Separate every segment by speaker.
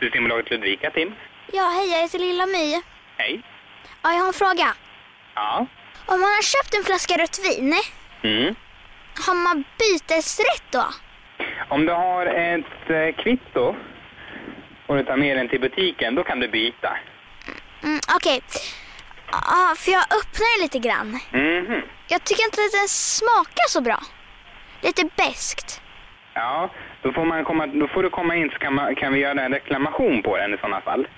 Speaker 1: Systembolaget Ludvika, Tim.
Speaker 2: Ja, hej, jag heter Lilla My.
Speaker 1: Hej.
Speaker 2: Ja, jag har en fråga.
Speaker 1: Ja.
Speaker 2: Om man har köpt en flaska rött vin, eh,
Speaker 1: Mm.
Speaker 2: har man bytesrätt då?
Speaker 1: Om du har ett eh, kvitto och du tar med den till butiken, då kan du byta.
Speaker 2: Mm, Okej. Ja, för jag öppnar den lite grann.
Speaker 1: Mhm.
Speaker 2: Jag tycker inte att den smakar så bra. Lite beskt.
Speaker 1: Ja, då får, man komma, då får du komma in så kan, man, kan vi göra en reklamation på den i sådana fall.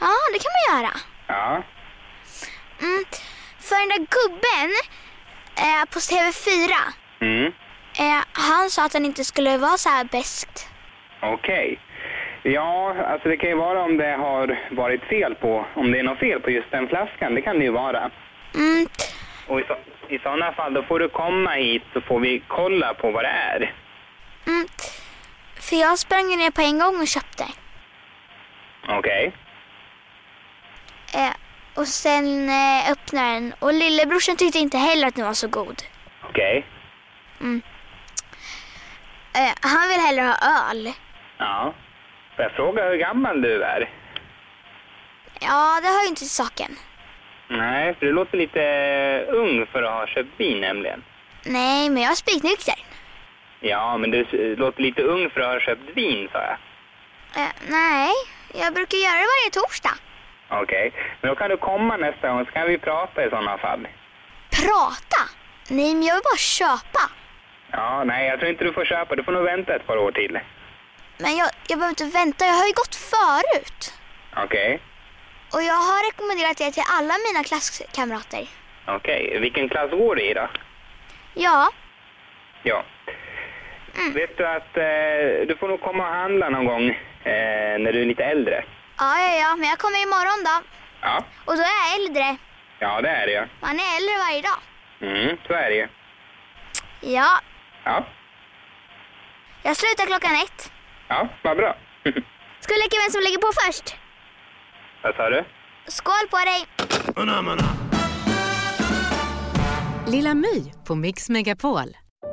Speaker 2: Ja, det kan man göra.
Speaker 1: Ja.
Speaker 2: Mm. För den där gubben eh, på TV4,
Speaker 1: Mm.
Speaker 2: eh, han sa att den inte skulle vara så här beskt.
Speaker 1: Okej. Ja, alltså det kan ju vara om det har varit fel på, om det är något fel på just den flaskan, det kan det ju vara.
Speaker 2: Mm.
Speaker 1: Och i, så, i sådana fall, då får du komma hit så får vi kolla på vad det är.
Speaker 2: Mm. För jag sprang ju ner på en gång och köpte.
Speaker 1: Okej.
Speaker 2: Eh, och sen eh, öppnade den och lillebrorsan tyckte inte heller att den var så god.
Speaker 1: Okej.
Speaker 2: Eh, han vill hellre ha öl.
Speaker 1: Ja. Får jag fråga hur gammal du är?
Speaker 2: Ja, det hör ju inte till saken.
Speaker 1: Nej, för du låter lite eh, ung för att ha köpt vin nämligen.
Speaker 2: Nej, men jag är spiknykter.
Speaker 1: Ja, men du eh, låter lite ung för att ha köpt vin, sa jag.
Speaker 2: Eh, nej, jag brukar göra det varje torsdag.
Speaker 1: Okej, men då kan du komma nästa gång så kan vi prata i sådana fall.
Speaker 2: Prata? Nej, men jag vill bara köpa.
Speaker 1: Ja, nej, jag tror inte du får köpa. Du får nog vänta ett par år till.
Speaker 2: Men jag, jag behöver inte vänta, jag har ju gått förut.
Speaker 1: Okej,
Speaker 2: Och jag har rekommenderat det till alla mina klasskamrater.
Speaker 1: okej. Vilken klass går du i då?
Speaker 2: Ja,
Speaker 1: Ja. Vet du att eh, du får nog komma och handla någon gång eh, när du är lite äldre.
Speaker 2: ja, ja, ja, men jag kommer imorgon då.
Speaker 1: Ja,
Speaker 2: Och då är jag äldre.
Speaker 1: ja det är det ja.
Speaker 2: Man är äldre varje dag.
Speaker 1: Mm, så är det ju.
Speaker 2: Ja,
Speaker 1: Ja,
Speaker 2: jag slutar klockan ett.
Speaker 1: ja, vad bra.
Speaker 2: Ska vi leka vem som lägger på först?
Speaker 1: Vad sa du?
Speaker 2: Skål på dig!
Speaker 3: Lilla My på Mix Megapol.